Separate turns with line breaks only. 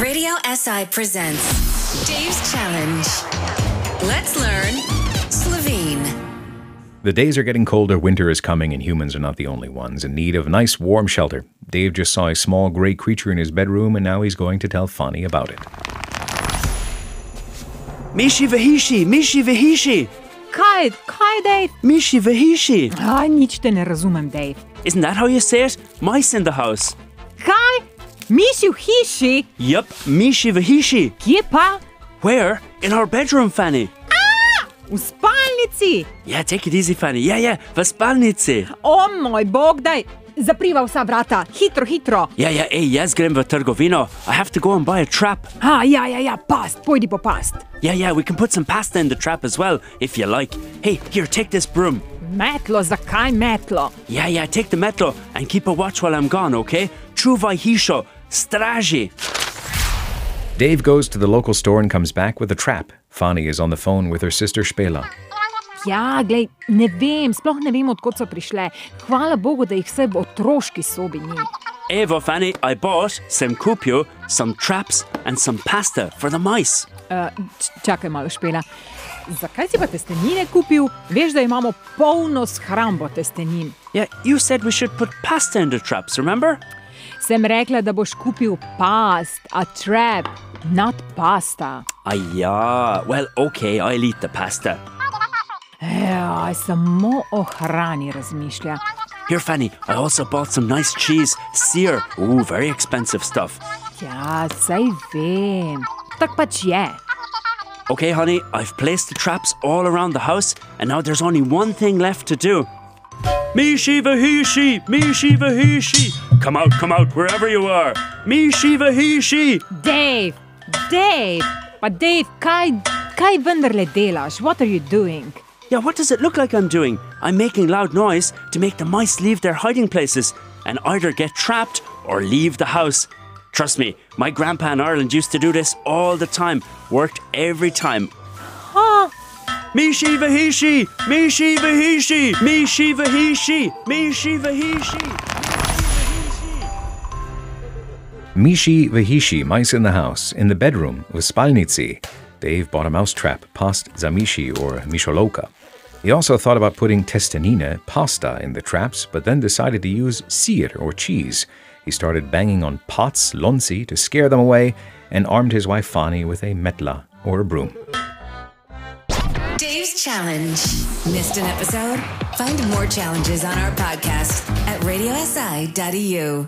Radio SI presents Dave's Challenge. Let's learn Slovene.
The days are getting colder, winter is coming, and humans are not the only ones in need of nice warm shelter. Dave just saw a small gray creature in his bedroom, and now he's going to tell Fani about it.
Miši v hiši, miši v hiši,
Kaj, kaj, Dave?
miši v hiši.
A, nič te ne razumem, Dave.
Isn't that how you say it? Mice in the house.
Kaj? Miši v hiši?
Yup, miši v hiši.
Kje pa?
Where? In our bedroom, Fanny.
V spalnici!
Yeah, take it easy, Fanny. Yeah, yeah, v spalnici.
O moj bog, daj! Zapriva vsa vrata, hitro, hitro.
Yeah, eh, yeah, ej, jaz grem v trgovino. I have to go and buy a trap.
A, ja, ja, ja, past, pojdi po past.
Yeah, yeah, we can put some pasta in the trap as well, if you like. Hey, here, take this broom.
Metlo, zakaj metlo?
Yeah, yeah, take the metlo and keep a watch while I'm gone, okay? Čuvaj hišo, straži.
Dave goes to the local store and comes back with a trap. Fani is on the phone with her sister Shpela.
Ja, glej, ne vem, sploh ne vem, odkot so prišle. Hvala Bogu, da jih vse v otroški sobi ni.
Evo, Fanny, I bought some kupio, some traps, and some pasta for the mice.
Uh, čakaj malo špela. Zakaj si pa testenine kupil? Veš, da imamo polno shrambo testenin.
Yeah, you said we should put pasta in the traps, remember?
Sem rekla, da boš kupil past, a trap, not pasta.
Aja, well, okay, I'll eat the pasta.
Ja, samo o hrani razmišlja.
Here, Fanny, I also bought some nice cheese, sear. Ooh, very expensive stuff.
Ja, saj vem. Tak pač je.
Okay, honey, I've placed the traps all around the house, and now there's only one thing left to do. Mishi Vahishi! Mishi Vahishi! Come out, come out, wherever you are! Mishi Vahishi!
Dave, Dave, pa Dave, kaj, kaj vendarle delaš? What are you doing?
Yeah, what does it look like I'm doing? I'm making loud noise to make the mice leave their hiding places and either get trapped or leave the house. Trust me, my grandpa in Ireland used to do this all the time. Worked every time.
Ha,
Mishi Vahishi! Mishi Vahishi! Mishi Vahishi! Mishi Vahishi!
Mishi Vahishi, mice in the house, in the bedroom, with Spalnici. Dave bought a mouse trap, past Zamishi or Misholoka. He also thought about putting testanina, pasta, in the traps, but then decided to use sear or cheese. He started banging on pots, lonsi, to scare them away, and armed his wife Fani with a metla or a broom.
Dave's Challenge. Missed an E episode? Find more challenges on our podcast at radiosi.eu.